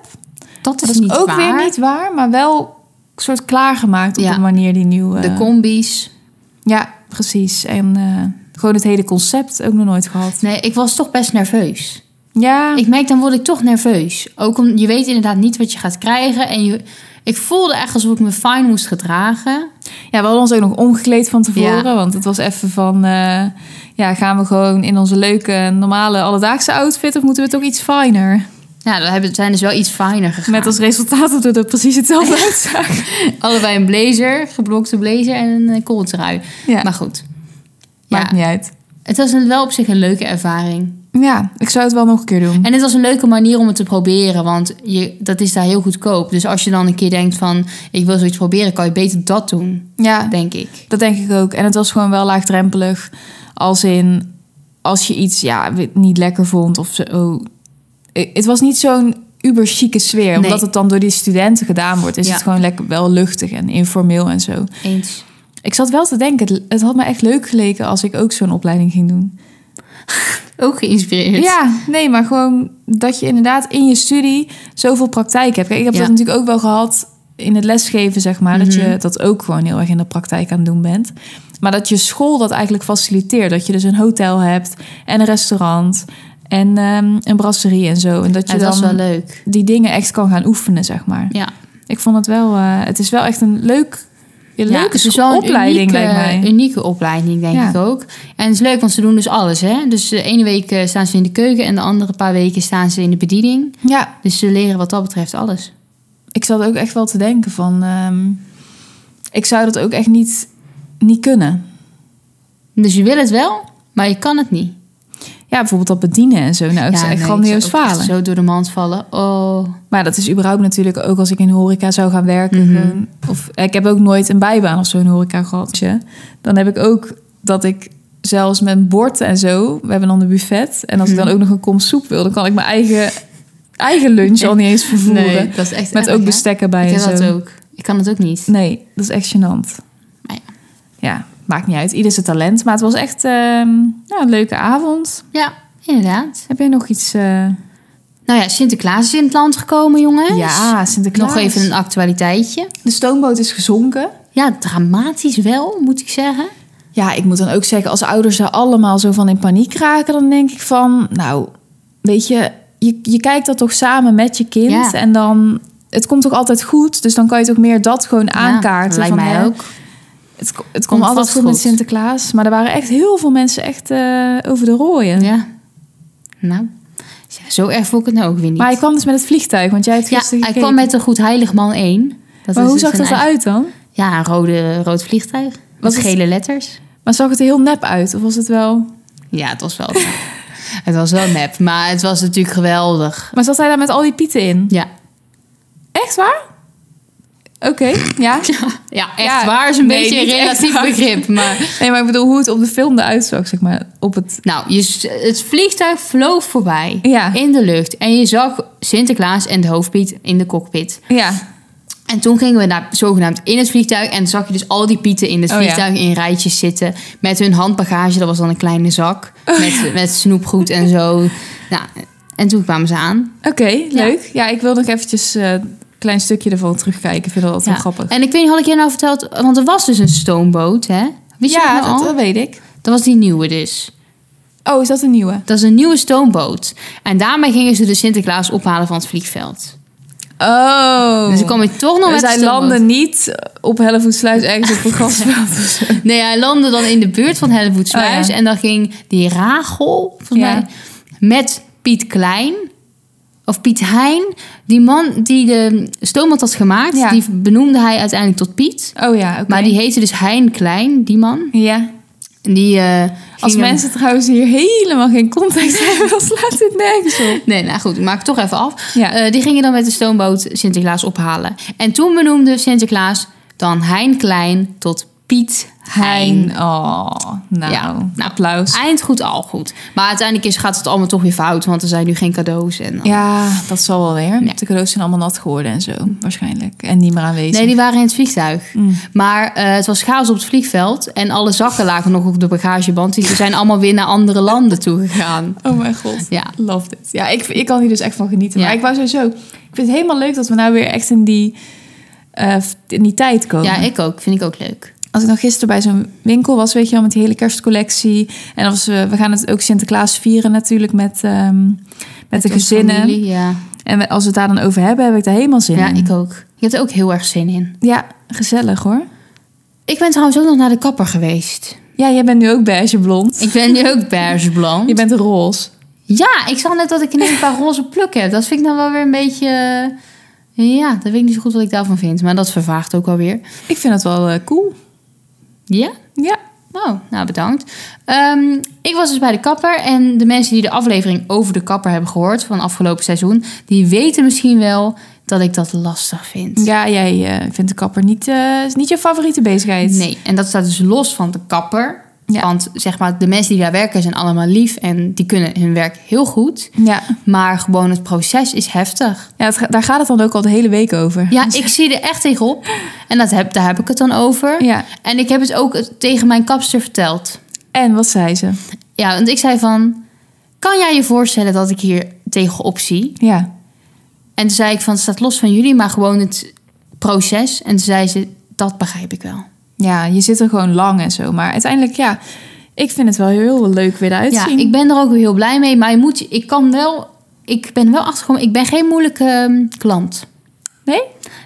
Speaker 2: Dat is,
Speaker 1: Dat is
Speaker 2: niet
Speaker 1: ook
Speaker 2: waar.
Speaker 1: weer niet waar, maar wel een soort klaargemaakt op
Speaker 2: Ja.
Speaker 1: een manier die nieuw. eh,
Speaker 2: De combi's.
Speaker 1: ja, precies. En eh, gewoon het hele concept ook nog nooit gehad.
Speaker 2: Nee, ik was toch best nerveus.
Speaker 1: Ja,
Speaker 2: Ik merk, dan word ik toch nerveus. Ook om, je weet inderdaad niet wat je gaat krijgen. En je, ik voelde echt alsof ik me fijn moest gedragen.
Speaker 1: ja, we hadden ons ook nog omgekleed van tevoren.
Speaker 2: Ja.
Speaker 1: Want het was even van. eh, ja, gaan we gewoon in onze leuke, normale, alledaagse outfit? Of moeten we toch iets fijner?
Speaker 2: Nou, dan hebben, zijn dus wel iets fijner gegaan.
Speaker 1: Met als resultaat dat we er precies hetzelfde uitzagen.
Speaker 2: Allebei een blazer, geblokte blazer en een eh, kooltrui.
Speaker 1: Ja,
Speaker 2: Maar goed.
Speaker 1: maakt niet uit.
Speaker 2: Het was een, wel op zich een leuke ervaring.
Speaker 1: Ja, ik zou het wel nog een keer doen.
Speaker 2: En het was een leuke manier om het te proberen, want je, dat is daar heel goedkoop. Dus als je dan een keer denkt van, ik wil zoiets proberen, kan je beter dat doen,
Speaker 1: Ja,
Speaker 2: denk ik.
Speaker 1: dat denk ik ook. En het was gewoon wel laagdrempelig. Als in, als je iets ja, niet lekker vond of zo. Eh, Het was niet zo'n uber chique sfeer. Omdat
Speaker 2: Nee.
Speaker 1: het dan door die studenten gedaan wordt. Is
Speaker 2: Ja.
Speaker 1: het gewoon lekker wel luchtig en informeel en zo.
Speaker 2: Eens.
Speaker 1: Ik zat wel te denken, het, het had me echt leuk geleken als ik ook zo'n opleiding ging doen.
Speaker 2: Ook geïnspireerd.
Speaker 1: Ja, nee, maar gewoon dat je inderdaad in je studie zoveel praktijk hebt. Kijk, ik heb
Speaker 2: Ja.
Speaker 1: dat natuurlijk ook wel gehad in het lesgeven, zeg maar. Dat
Speaker 2: Mhm.
Speaker 1: je dat ook gewoon heel erg in de praktijk aan het doen bent. Maar dat je school dat eigenlijk faciliteert. Dat je dus een hotel hebt en een restaurant en ehm, een brasserie en zo. En dat je
Speaker 2: Het was wel
Speaker 1: dan
Speaker 2: leuk.
Speaker 1: die dingen echt kan gaan oefenen, zeg maar.
Speaker 2: Ja.
Speaker 1: Ik vond het wel... eh, het is wel echt een leuk... Een
Speaker 2: Ja,
Speaker 1: leuke
Speaker 2: het is wel een
Speaker 1: opleiding,
Speaker 2: unieke,
Speaker 1: lijkt mij.
Speaker 2: unieke opleiding, denk
Speaker 1: Ja.
Speaker 2: ik ook. En het is leuk, want ze doen dus alles. Hè? Dus de ene week eh, staan ze in de keuken en de andere paar weken staan ze in de bediening.
Speaker 1: Ja,
Speaker 2: Dus ze leren wat dat betreft alles.
Speaker 1: ik zat ook echt wel te denken van... ehm, ik zou dat ook echt niet, niet kunnen.
Speaker 2: Dus je wil het wel, maar je kan het niet.
Speaker 1: Ja, bijvoorbeeld dat bedienen en zo. Nou, ik zou echt
Speaker 2: nee,
Speaker 1: grandioos
Speaker 2: ik zou ook echt
Speaker 1: falen.
Speaker 2: Zo door de mand vallen. Oh,
Speaker 1: Maar dat is überhaupt natuurlijk ook als ik in horeca zou gaan werken.
Speaker 2: Mhm.
Speaker 1: gewoon- of ik heb ook nooit een bijbaan of zo'n horeca gehad. tje. Dan heb ik ook dat ik zelfs met een bord en zo. We hebben dan een buffet. En als ik
Speaker 2: Mhm.
Speaker 1: dan ook nog een kom soep wil, dan kan ik mijn eigen, eigen lunch al niet eens vervoeren.
Speaker 2: nee, dat is echt
Speaker 1: Met
Speaker 2: erg,
Speaker 1: ook
Speaker 2: hè?
Speaker 1: bestekken bij
Speaker 2: Ik
Speaker 1: en
Speaker 2: heb
Speaker 1: zo.
Speaker 2: dat ook. Ik kan het ook niet.
Speaker 1: Nee, dat is echt gênant.
Speaker 2: Maar ja.
Speaker 1: Ja, maakt niet uit. Ieder zijn talent. Maar het was echt ehm, ja, een leuke avond.
Speaker 2: Ja, inderdaad.
Speaker 1: Heb jij nog iets? eh,
Speaker 2: Nou ja, Sinterklaas is in het land gekomen, jongens.
Speaker 1: Ja, Sinterklaas.
Speaker 2: Nog even een actualiteitje.
Speaker 1: De stoomboot is gezonken.
Speaker 2: Ja, dramatisch wel, moet ik zeggen.
Speaker 1: Ja, ik moet dan ook zeggen, als ouders daar allemaal zo van in paniek raken, dan denk ik van, nou, weet je, je, je kijkt dat toch samen met je kind
Speaker 2: Ja.
Speaker 1: en dan, het komt toch altijd goed, dus dan kan je toch meer dat gewoon aankaarten.
Speaker 2: Ja, lijkt
Speaker 1: van,
Speaker 2: mij
Speaker 1: hè,
Speaker 2: ook.
Speaker 1: Het, ko- het komt
Speaker 2: Komt
Speaker 1: altijd
Speaker 2: vast
Speaker 1: goed met
Speaker 2: goed.
Speaker 1: Sinterklaas, maar er waren echt heel veel mensen echt eh, over de rooien.
Speaker 2: Ja. Nou, ja, zo erg vond ik het nou ook weer niet.
Speaker 1: Maar hij kwam dus met het vliegtuig, want jij hebt
Speaker 2: ja,
Speaker 1: gisteren
Speaker 2: hij
Speaker 1: gekeken.
Speaker 2: kwam met een goed heilig man 1. Dat
Speaker 1: Maar
Speaker 2: is
Speaker 1: hoe
Speaker 2: dus
Speaker 1: zag
Speaker 2: een
Speaker 1: dat
Speaker 2: eigen-
Speaker 1: eruit dan?
Speaker 2: Ja, een rode, rood vliegtuig.
Speaker 1: Was
Speaker 2: Met
Speaker 1: het-
Speaker 2: gele letters.
Speaker 1: Maar zag het er heel nep uit, of was het wel...
Speaker 2: Ja, het was wel Het was wel nep, maar het was natuurlijk geweldig.
Speaker 1: Maar zat hij daar met al die pieten in?
Speaker 2: Ja,
Speaker 1: Echt waar? Oké, ja.
Speaker 2: ja echt
Speaker 1: Ja,
Speaker 2: waar is een
Speaker 1: nee,
Speaker 2: beetje een
Speaker 1: niet echt
Speaker 2: relatief
Speaker 1: waar.
Speaker 2: begrip. Maar...
Speaker 1: Nee, maar ik bedoel hoe het op de film eruit zag, zeg maar. Op het...
Speaker 2: Nou, je, s- het vliegtuig vloog voorbij
Speaker 1: Ja.
Speaker 2: in de lucht. En je zag Sinterklaas en de hoofdpiet in de cockpit.
Speaker 1: Ja.
Speaker 2: En toen gingen we naar, zogenaamd in het vliegtuig. En zag je dus al die pieten in het
Speaker 1: Oh, ja.
Speaker 2: vliegtuig in rijtjes zitten. Met hun handbagage, dat was dan een kleine zak.
Speaker 1: Oh.
Speaker 2: met, met snoepgoed en zo. Nou, en toen kwamen ze aan.
Speaker 1: Oké, leuk. Ja. ik wil nog eventjes eh, een klein stukje ervan terugkijken. Ik vind dat altijd wel
Speaker 2: Ja.
Speaker 1: grappig.
Speaker 2: En ik weet niet, had ik je nou verteld... Want er was dus een stoomboot, hè? Wist je
Speaker 1: ja,
Speaker 2: dat nou al?
Speaker 1: dat weet ik.
Speaker 2: Dat was die nieuwe dus.
Speaker 1: Oh, is dat een nieuwe?
Speaker 2: Dat is een nieuwe stoomboot. En daarmee gingen ze de Sinterklaas ophalen van het vliegveld.
Speaker 1: Oh.
Speaker 2: Dus ik kwam je toch nog
Speaker 1: Dus
Speaker 2: met de
Speaker 1: hij
Speaker 2: stoomboot.
Speaker 1: landde niet op Hellevoetsluis ergens op een grasveld. of zo.
Speaker 2: Nee, hij landde dan in de buurt van Hellevoetsluis.
Speaker 1: Oh, ja.
Speaker 2: En dan ging die Rachel, volgens
Speaker 1: Ja.
Speaker 2: mij, met Piet Klein... Of Piet Hein, die man die de stoomboot had gemaakt,
Speaker 1: Ja.
Speaker 2: die benoemde hij uiteindelijk tot Piet.
Speaker 1: Oh ja, oké.
Speaker 2: Maar die heette dus Hein Klein, die man.
Speaker 1: Ja.
Speaker 2: En Die, eh,
Speaker 1: Als
Speaker 2: ging hem-
Speaker 1: mensen trouwens hier helemaal geen context hebben, dan slaat dit nergens op.
Speaker 2: Nee, nou goed, ik maak het toch even af.
Speaker 1: Ja.
Speaker 2: Eh, die gingen dan met de stoomboot Sinterklaas ophalen. En toen benoemde Sinterklaas dan Hein Klein tot Piet Hein.
Speaker 1: Hein. Oh, nou.
Speaker 2: Ja. Nou,
Speaker 1: Applaus.
Speaker 2: Eind goed, al goed. Maar uiteindelijk is, gaat het allemaal toch weer fout, want er zijn nu geen cadeaus. En dan-
Speaker 1: Ja, dat zal wel weer.
Speaker 2: Ja.
Speaker 1: De cadeaus zijn allemaal nat geworden en zo, waarschijnlijk. En niet meer aanwezig.
Speaker 2: Nee, die waren in het vliegtuig.
Speaker 1: Mm.
Speaker 2: Maar eh, het was chaos op het vliegveld. En alle zakken lagen nog op de bagageband. Die zijn allemaal weer naar andere landen toegegaan.
Speaker 1: Oh mijn god.
Speaker 2: Ja.
Speaker 1: Love dit. Ja, ik, ik kan hier dus echt van genieten.
Speaker 2: Ja.
Speaker 1: Maar ik wou sowieso... Ik vind het helemaal leuk dat we nou weer echt in die, eh, in die tijd komen.
Speaker 2: Ja, ik ook. Vind ik ook leuk.
Speaker 1: Als ik nog gisteren bij zo'n winkel was, weet je wel, met die hele kerstcollectie. En als we, we gaan het ook Sinterklaas vieren natuurlijk met, ehm, met, de
Speaker 2: Onze
Speaker 1: gezinnen.
Speaker 2: familie, Ja.
Speaker 1: En we- als we het daar dan over hebben, heb ik daar helemaal zin
Speaker 2: ja,
Speaker 1: in.
Speaker 2: ik ook. Ik heb er ook heel erg zin in.
Speaker 1: Ja, gezellig hoor.
Speaker 2: Ik ben trouwens ook nog naar de kapper geweest.
Speaker 1: Ja, jij bent nu ook beige blond.
Speaker 2: Ik ben nu ook beersblond.
Speaker 1: Je bent roze.
Speaker 2: Ja, ik zag net dat ik ineens een paar roze plukken heb. Dat vind ik dan wel weer een beetje... eh, Ja, dat weet ik niet zo goed wat ik daarvan vind. Maar dat vervaagt ook alweer.
Speaker 1: Ik vind het wel eh, cool.
Speaker 2: Ja?
Speaker 1: Ja.
Speaker 2: Nou, nou bedankt. Ehm, ik was dus bij de kapper. En de mensen die de aflevering over de kapper hebben gehoord... van afgelopen seizoen... die weten misschien wel dat ik dat lastig vind.
Speaker 1: Ja, jij eh, vindt de kapper niet, eh, is niet je favoriete bezigheid.
Speaker 2: Nee, en dat staat dus los van de kapper.
Speaker 1: Ja.
Speaker 2: Want zeg maar, de mensen die daar werken zijn allemaal lief... en die kunnen hun werk heel goed.
Speaker 1: Ja,
Speaker 2: Maar gewoon het proces is heftig.
Speaker 1: ja het ga- daar gaat het dan ook al de hele week over.
Speaker 2: Ja, ik zie er echt tegenop. En dat heb, daar heb ik het dan over.
Speaker 1: Ja.
Speaker 2: En ik heb het ook tegen mijn kapster verteld.
Speaker 1: En wat zei ze?
Speaker 2: Ja, want ik zei van... Kan jij je voorstellen dat ik hier tegenop zie?
Speaker 1: Ja.
Speaker 2: En toen zei ik van... Het staat los van jullie, maar gewoon het proces. En toen zei ze... Dat begrijp ik wel.
Speaker 1: Ja, je zit er gewoon lang en zo. Maar uiteindelijk, ja, ik vind het wel heel leuk weer
Speaker 2: ja,
Speaker 1: uitzien.
Speaker 2: ik ben er ook weer heel blij mee. Maar je moet... Ik kan wel... Ik ben wel achtergekomen... Ik ben geen moeilijke ehm, klant.
Speaker 1: Nee?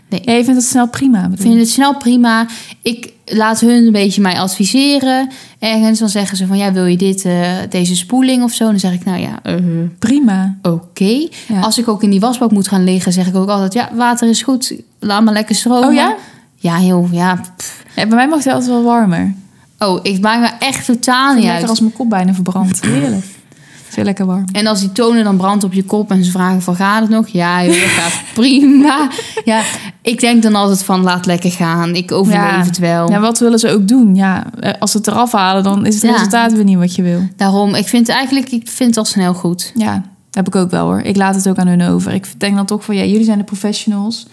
Speaker 2: Nee.
Speaker 1: Ja, je vindt het snel prima,
Speaker 2: Ik
Speaker 1: bedoel
Speaker 2: vind het snel prima. Ik laat hun een beetje mij adviseren. Ergens dan zeggen ze van ja, wil je dit, eh, deze spoeling of zo? Dan zeg ik nou ja, eh,
Speaker 1: je? Prima.
Speaker 2: oké.
Speaker 1: Ja.
Speaker 2: Als ik ook in die wasbak moet gaan liggen, zeg ik ook altijd ja, water is goed. Laat maar lekker stromen.
Speaker 1: Oh ja?
Speaker 2: Ja, heel ja. pff.
Speaker 1: Ja, bij mij mag het altijd wel warmer.
Speaker 2: Oh, ik maak me echt totaal niet
Speaker 1: Lekker
Speaker 2: uit.
Speaker 1: als mijn kop bijna verbrandt. Heerlijk. Het is weer lekker warm.
Speaker 2: En als die tonen dan brandt op je kop en ze vragen van gaat het nog? Ja, joh, dat gaat prima. Ja, ik denk dan altijd van laat lekker gaan. Ik overleef
Speaker 1: Ja.
Speaker 2: het wel.
Speaker 1: Ja, wat willen ze ook doen? Ja, eh, als ze het eraf halen, dan is het
Speaker 2: Ja.
Speaker 1: resultaat weer niet wat je wil.
Speaker 2: Daarom, ik vind eigenlijk, ik vind het al snel goed.
Speaker 1: Ja, heb ik ook wel hoor. Ik laat het ook aan hun over. Ik denk dan toch van, ja, jullie zijn de professionals.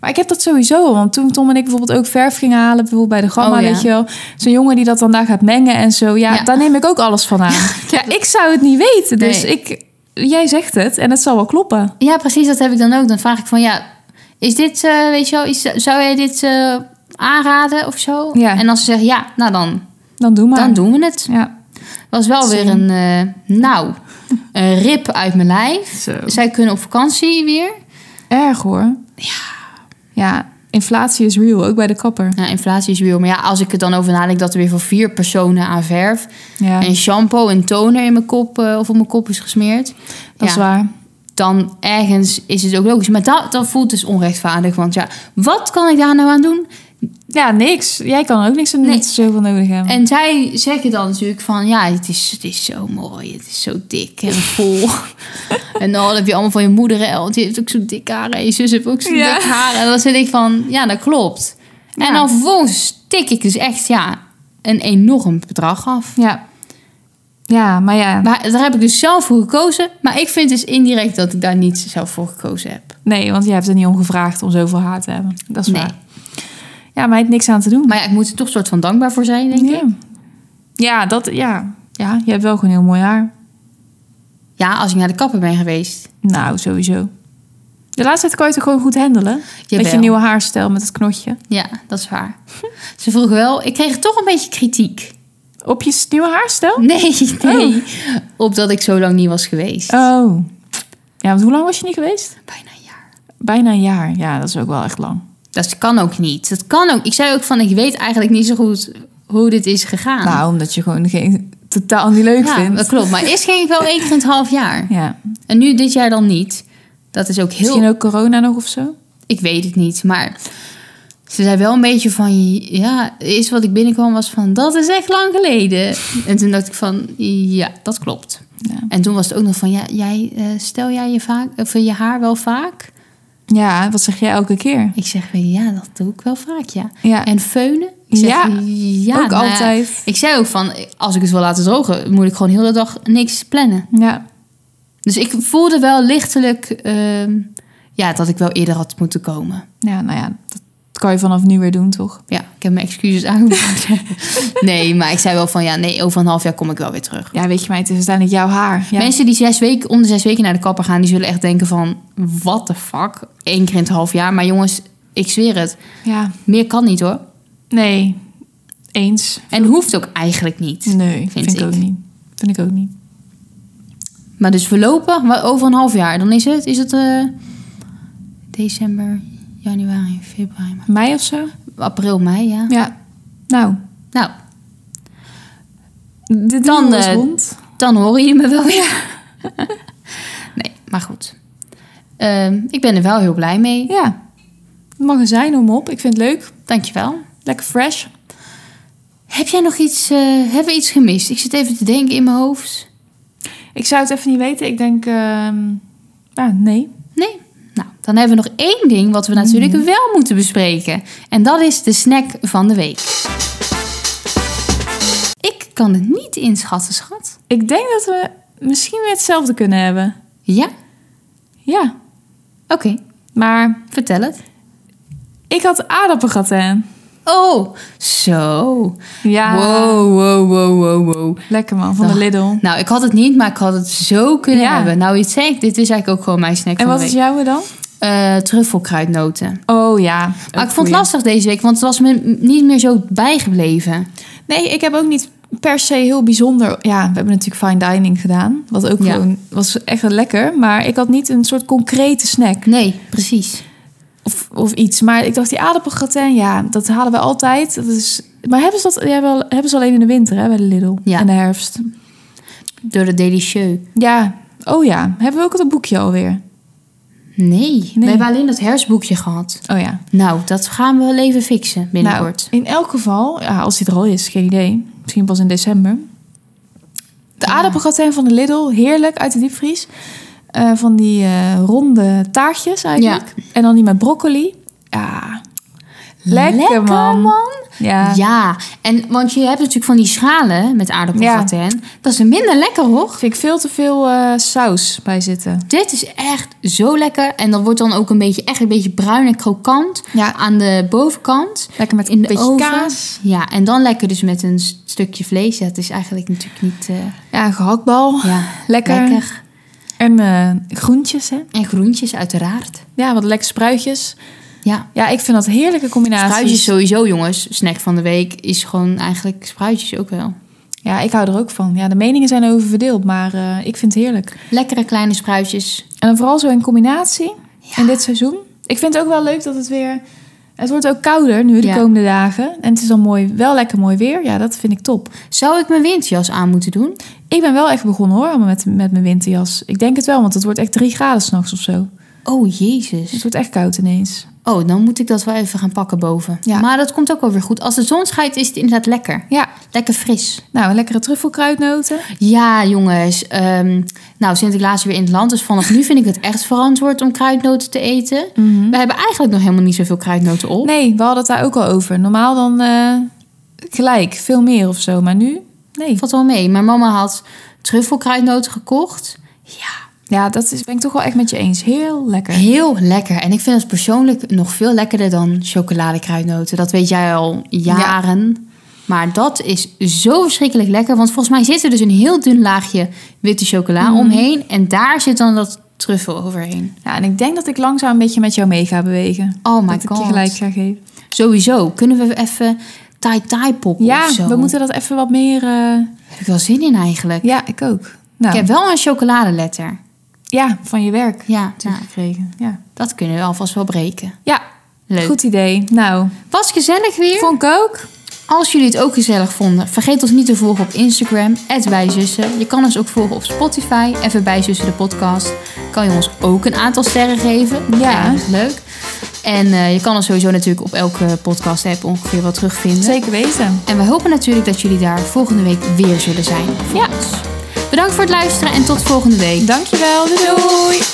Speaker 1: Maar ik heb dat sowieso, want toen Tom en ik bijvoorbeeld ook verf gingen halen, bijvoorbeeld bij de gamma,
Speaker 2: Oh, ja.
Speaker 1: weet je wel. Zo'n jongen die dat dan daar gaat mengen en zo, ja,
Speaker 2: Ja.
Speaker 1: daar neem ik ook alles van aan. Ja, ik zou het niet weten, dus
Speaker 2: Nee.
Speaker 1: ik, jij zegt het en het zal wel kloppen.
Speaker 2: Ja, precies, dat heb ik dan ook. Dan vraag ik van ja, is dit, eh, weet je wel, is, zou jij dit eh, aanraden of zo?
Speaker 1: Ja.
Speaker 2: En als ze zeggen ja, nou dan,
Speaker 1: Dan doe maar.
Speaker 2: dan doen we het.
Speaker 1: Ja.
Speaker 2: Was wel
Speaker 1: Zin.
Speaker 2: weer een, eh, nou, een rip uit mijn lijf.
Speaker 1: Zo.
Speaker 2: Zij kunnen op vakantie weer.
Speaker 1: Erg hoor. Ja. Ja, inflatie is real, ook bij de kapper.
Speaker 2: Ja, inflatie is weer. Maar ja, als ik er dan over nadenk dat er weer voor vier personen aan verf
Speaker 1: Ja,
Speaker 2: en shampoo en toner in mijn kop eh, of op mijn kop is gesmeerd.
Speaker 1: dat is
Speaker 2: ja.
Speaker 1: waar.
Speaker 2: dan ergens is het ook logisch. Maar dat, dat voelt dus onrechtvaardig. Want ja, wat kan ik daar nou aan doen?
Speaker 1: Ja, niks. Jij kan er ook niks aan doen
Speaker 2: Nee.
Speaker 1: dat ze zoveel nodig hebben.
Speaker 2: En zij zeggen dan natuurlijk van... Ja, het is, het is zo mooi. Het is zo dik en vol. en dan heb je allemaal van je moeder... hè, Want die heeft ook zo dik haar. En je zus heeft ook zo
Speaker 1: Ja.
Speaker 2: dik haar. En dan zit ik van... Ja, dat klopt.
Speaker 1: Ja.
Speaker 2: En dan vervolgens stik ik dus echt ja, een enorm bedrag af.
Speaker 1: Ja. Ja, maar ja.
Speaker 2: Maar daar heb ik dus zelf voor gekozen. Maar ik vind dus indirect dat ik daar niet zelf voor gekozen heb.
Speaker 1: Nee, want jij hebt er niet om gevraagd om zoveel haat te hebben. Dat is
Speaker 2: Nee.
Speaker 1: waar. Ja, maar hij heeft niks aan te doen.
Speaker 2: Maar ja, ik moet er toch soort van dankbaar voor zijn, denk
Speaker 1: ja.
Speaker 2: ik.
Speaker 1: Ja, dat, ja. Ja, je hebt wel gewoon heel mooi haar.
Speaker 2: Ja, als ik naar de kapper ben geweest.
Speaker 1: Nou, sowieso. De laatste tijd kan je het gewoon goed handelen. Met je
Speaker 2: Jawel.
Speaker 1: nieuwe haarstijl, met het knotje.
Speaker 2: Ja, dat is waar. Ze vroegen wel, ik kreeg toch een beetje kritiek.
Speaker 1: Op je s- nieuwe haarstijl?
Speaker 2: Nee, nee. Op dat ik zo lang niet was geweest.
Speaker 1: Oh. Ja, want hoe lang was je niet geweest?
Speaker 2: Bijna een jaar.
Speaker 1: Bijna een jaar. Ja, dat is ook wel echt lang.
Speaker 2: Dat kan ook niet. Dat kan ook. Ik zei ook van, ik weet eigenlijk niet zo goed hoe dit is gegaan.
Speaker 1: Nou, omdat je gewoon geen, totaal niet leuk
Speaker 2: ja,
Speaker 1: vindt.
Speaker 2: dat klopt. Maar eerst ging ik wel één keer in het half jaar.
Speaker 1: Ja.
Speaker 2: En nu dit jaar dan niet. Dat is ook heel...
Speaker 1: Misschien ook corona nog of zo?
Speaker 2: Ik weet het niet, maar... Ze zei wel een beetje van, ja, eerst wat ik binnenkwam was van, dat is echt lang geleden. En toen dacht ik van, ja, dat klopt.
Speaker 1: Ja.
Speaker 2: En toen was het ook nog van, ja, jij, eh, stel jij je, vaak, of je haar wel vaak?
Speaker 1: Ja, wat zeg jij elke keer?
Speaker 2: Ik zeg weer, ja, dat doe ik wel vaak, ja.
Speaker 1: Ja,
Speaker 2: En feunen? Ik zeg,
Speaker 1: Ja,
Speaker 2: ja
Speaker 1: ook
Speaker 2: nou ja.
Speaker 1: altijd.
Speaker 2: Ik zei ook van, als ik het wil laten drogen, moet ik gewoon heel de dag niks plannen.
Speaker 1: Ja.
Speaker 2: Dus ik voelde wel lichtelijk ehm, ja, dat ik wel eerder had moeten komen.
Speaker 1: ja, nou ja, dat kan je vanaf nu weer doen, toch?
Speaker 2: Ja, ik heb mijn excuses aangeboden. nee, maar ik zei wel van, ja, nee, over een half jaar kom ik wel weer terug.
Speaker 1: Ja, weet je mij, het is uiteindelijk jouw haar. Ja.
Speaker 2: Mensen die zes weken, om de zes weken naar de kapper gaan, die zullen echt denken van, what the fuck? Eén keer in het half jaar. Maar jongens, ik zweer het,
Speaker 1: Ja,
Speaker 2: meer kan niet hoor.
Speaker 1: nee, eens.
Speaker 2: En hoeft ook eigenlijk niet.
Speaker 1: Nee, vind,
Speaker 2: Vind
Speaker 1: ik
Speaker 2: ik.
Speaker 1: ook niet. Vind ik ook niet.
Speaker 2: Maar dus voorlopig, wa- over een half jaar, dan is het, is het eh, december, januari, februari, maart,
Speaker 1: Mij of zo?
Speaker 2: april, mei, ja.
Speaker 1: Ja. Nou,
Speaker 2: Nou,
Speaker 1: de
Speaker 2: Dan,
Speaker 1: dan is
Speaker 2: eh,
Speaker 1: rond.
Speaker 2: dan horen jullie me wel weer. nee, maar goed. Ehm, ik ben er wel heel blij mee.
Speaker 1: Ja. Het mag er zijn, om op. Ik vind het leuk.
Speaker 2: Dankjewel.
Speaker 1: Lekker fresh.
Speaker 2: Heb jij nog iets, eh, hebben we iets gemist? Ik zit even te denken in mijn hoofd.
Speaker 1: Ik zou het even niet weten. Ik denk, ehm ja, nee.
Speaker 2: Nee? Nou, dan hebben we nog één ding wat we natuurlijk wel moeten bespreken. En dat is de snack van de week. Ik kan het niet inschatten, schat.
Speaker 1: Ik denk dat we misschien weer hetzelfde kunnen hebben.
Speaker 2: Ja?
Speaker 1: Ja.
Speaker 2: Oké,
Speaker 1: Maar
Speaker 2: vertel het.
Speaker 1: ik had aardappelgratin.
Speaker 2: Oh, zo.
Speaker 1: Ja.
Speaker 2: Wow, wow, wow, wow, wow.
Speaker 1: Lekker man, van de
Speaker 2: Dag.
Speaker 1: Lidl.
Speaker 2: Nou, ik had het niet, maar ik had het zo kunnen
Speaker 1: Ja.
Speaker 2: hebben. Nou, iets zegt, dit is eigenlijk ook gewoon mijn snack
Speaker 1: En
Speaker 2: van
Speaker 1: wat
Speaker 2: de
Speaker 1: is
Speaker 2: week.
Speaker 1: jouwe dan?
Speaker 2: Eh, truffelkruidnoten.
Speaker 1: Oh ja.
Speaker 2: Maar ik vond het lastig deze week, want het was me niet meer zo bijgebleven.
Speaker 1: Nee, ik heb ook niet per se heel bijzonder. Ja, we hebben natuurlijk fine dining gedaan. Wat ook
Speaker 2: Ja.
Speaker 1: gewoon was echt wel lekker. Maar ik had niet een soort concrete snack
Speaker 2: Nee, precies.
Speaker 1: of, of iets. Maar ik dacht, die aardappelgratin, ja, dat halen we altijd. Dat is... Maar hebben ze dat ja, wel, hebben ze alleen in de winter hè, bij de Lidl?
Speaker 2: Ja.
Speaker 1: In de herfst.
Speaker 2: Door de delicieux.
Speaker 1: Ja. Oh ja. Hebben we ook het boekje alweer?
Speaker 2: Nee, we hebben alleen dat hersboekje gehad.
Speaker 1: Oh ja.
Speaker 2: Nou, dat gaan we wel even fixen binnenkort.
Speaker 1: Nou, in elk geval, ja, als die er al is, geen idee. Misschien pas in december. De aardappelgratin van de Lidl, heerlijk uit de diepvries. Eh, van die eh, ronde taartjes eigenlijk. En dan die met broccoli. Ja,
Speaker 2: Nou,
Speaker 1: lekker, man. Ja.
Speaker 2: Ja, en want je hebt natuurlijk van die schalen met aardappelgratin. Dat is minder lekker hoor.
Speaker 1: vind ik veel te veel eh, saus bij zitten.
Speaker 2: Dit is echt zo lekker. En dat wordt dan ook een beetje, echt een beetje bruin en krokant
Speaker 1: Ja,
Speaker 2: aan de bovenkant.
Speaker 1: lekker met
Speaker 2: In
Speaker 1: een
Speaker 2: de
Speaker 1: beetje
Speaker 2: oven.
Speaker 1: kaas.
Speaker 2: Ja, en dan lekker dus met een s- stukje vlees. Ja, het is eigenlijk natuurlijk niet eh,
Speaker 1: Ja, een gehaktbal.
Speaker 2: ja,
Speaker 1: Ah, Lekker.
Speaker 2: lekker.
Speaker 1: En eh, groentjes, hè?
Speaker 2: En groentjes uiteraard.
Speaker 1: Ja, wat lekker spruitjes.
Speaker 2: Ja,
Speaker 1: Ja, ik vind dat een heerlijke combinatie.
Speaker 2: spruitjes sowieso jongens. Snack van de week is gewoon eigenlijk spruitjes ook wel.
Speaker 1: Ja, ik hou er ook van. Ja, de meningen zijn over verdeeld, maar eh, ik vind het heerlijk.
Speaker 2: Lekkere kleine spruitjes.
Speaker 1: En dan vooral zo in combinatie in dit seizoen. Ik vind het ook wel leuk dat het weer... Het wordt ook kouder nu de
Speaker 2: Ja.
Speaker 1: komende dagen. En het is dan mooi, wel lekker mooi weer. Ja, dat vind ik top.
Speaker 2: Zou ik mijn winterjas aan moeten doen?
Speaker 1: Ik ben wel echt begonnen hoor, met, met mijn winterjas. Ik denk het wel, want het wordt echt drie graden s'nachts of zo.
Speaker 2: Oh jezus.
Speaker 1: Het wordt echt koud ineens.
Speaker 2: Oh, dan moet ik dat wel even gaan pakken boven.
Speaker 1: Ja.
Speaker 2: Maar dat komt ook wel weer goed. Als de zon schijnt, is het inderdaad lekker.
Speaker 1: Ja,
Speaker 2: Lekker fris.
Speaker 1: nou, een lekkere truffelkruidnoten.
Speaker 2: Oh. Ja, jongens. ehm, nou, Sinterklaas is weer in het land. Dus vanaf nu vind ik het echt verantwoord om kruidnoten te eten. We hebben eigenlijk nog helemaal niet zoveel kruidnoten op.
Speaker 1: Nee, we hadden het daar ook al over. Normaal dan eh, gelijk, veel meer of zo. Maar nu Nee.
Speaker 2: Valt wel mee. Mijn mama had truffelkruidnoten gekocht. Ja,
Speaker 1: Ja, dat is, ben ik toch wel echt met je eens. Heel lekker.
Speaker 2: heel lekker. En ik vind het persoonlijk nog veel lekkerder dan chocoladekruidnoten. Dat weet jij al jaren. Maar dat is zo verschrikkelijk lekker. Want volgens mij zit er dus een heel dun laagje witte chocola
Speaker 1: Mhm.
Speaker 2: omheen. En daar zit dan dat truffel overheen.
Speaker 1: Ja, en ik denk dat ik langzaam een beetje met jou mee ga bewegen.
Speaker 2: Oh my
Speaker 1: dat ik je
Speaker 2: God.
Speaker 1: gelijk ga geven.
Speaker 2: Sowieso. Kunnen we even tai-tai poppen
Speaker 1: Ja,
Speaker 2: of Oh, zo?
Speaker 1: we moeten dat even wat meer... eh,
Speaker 2: Heb ik wel zin in eigenlijk.
Speaker 1: Ja, ik ook. Nou,
Speaker 2: Ik heb wel een chocoladeletter.
Speaker 1: Ja, van je werk.
Speaker 2: Ja, nou,
Speaker 1: Gekregen. Ja,
Speaker 2: dat kunnen we alvast wel breken.
Speaker 1: ja
Speaker 2: Leuk.
Speaker 1: goed idee. Nou,
Speaker 2: Was gezellig weer.
Speaker 1: vond ik ook.
Speaker 2: Als jullie het ook gezellig vonden, vergeet ons niet te volgen op Instagram, bijzussen. Je kan ons ook volgen op Spotify, even bijzussen de podcast. Kan je ons ook een aantal sterren geven.
Speaker 1: Ja.
Speaker 2: dat is leuk. En eh, je kan ons sowieso natuurlijk op elke podcast app ongeveer wel terugvinden.
Speaker 1: Zeker weten.
Speaker 2: En we hopen natuurlijk dat jullie daar volgende week weer zullen zijn.
Speaker 1: Ja.
Speaker 2: Bedankt voor het luisteren en tot volgende week.
Speaker 1: Dankjewel. Doei. doei.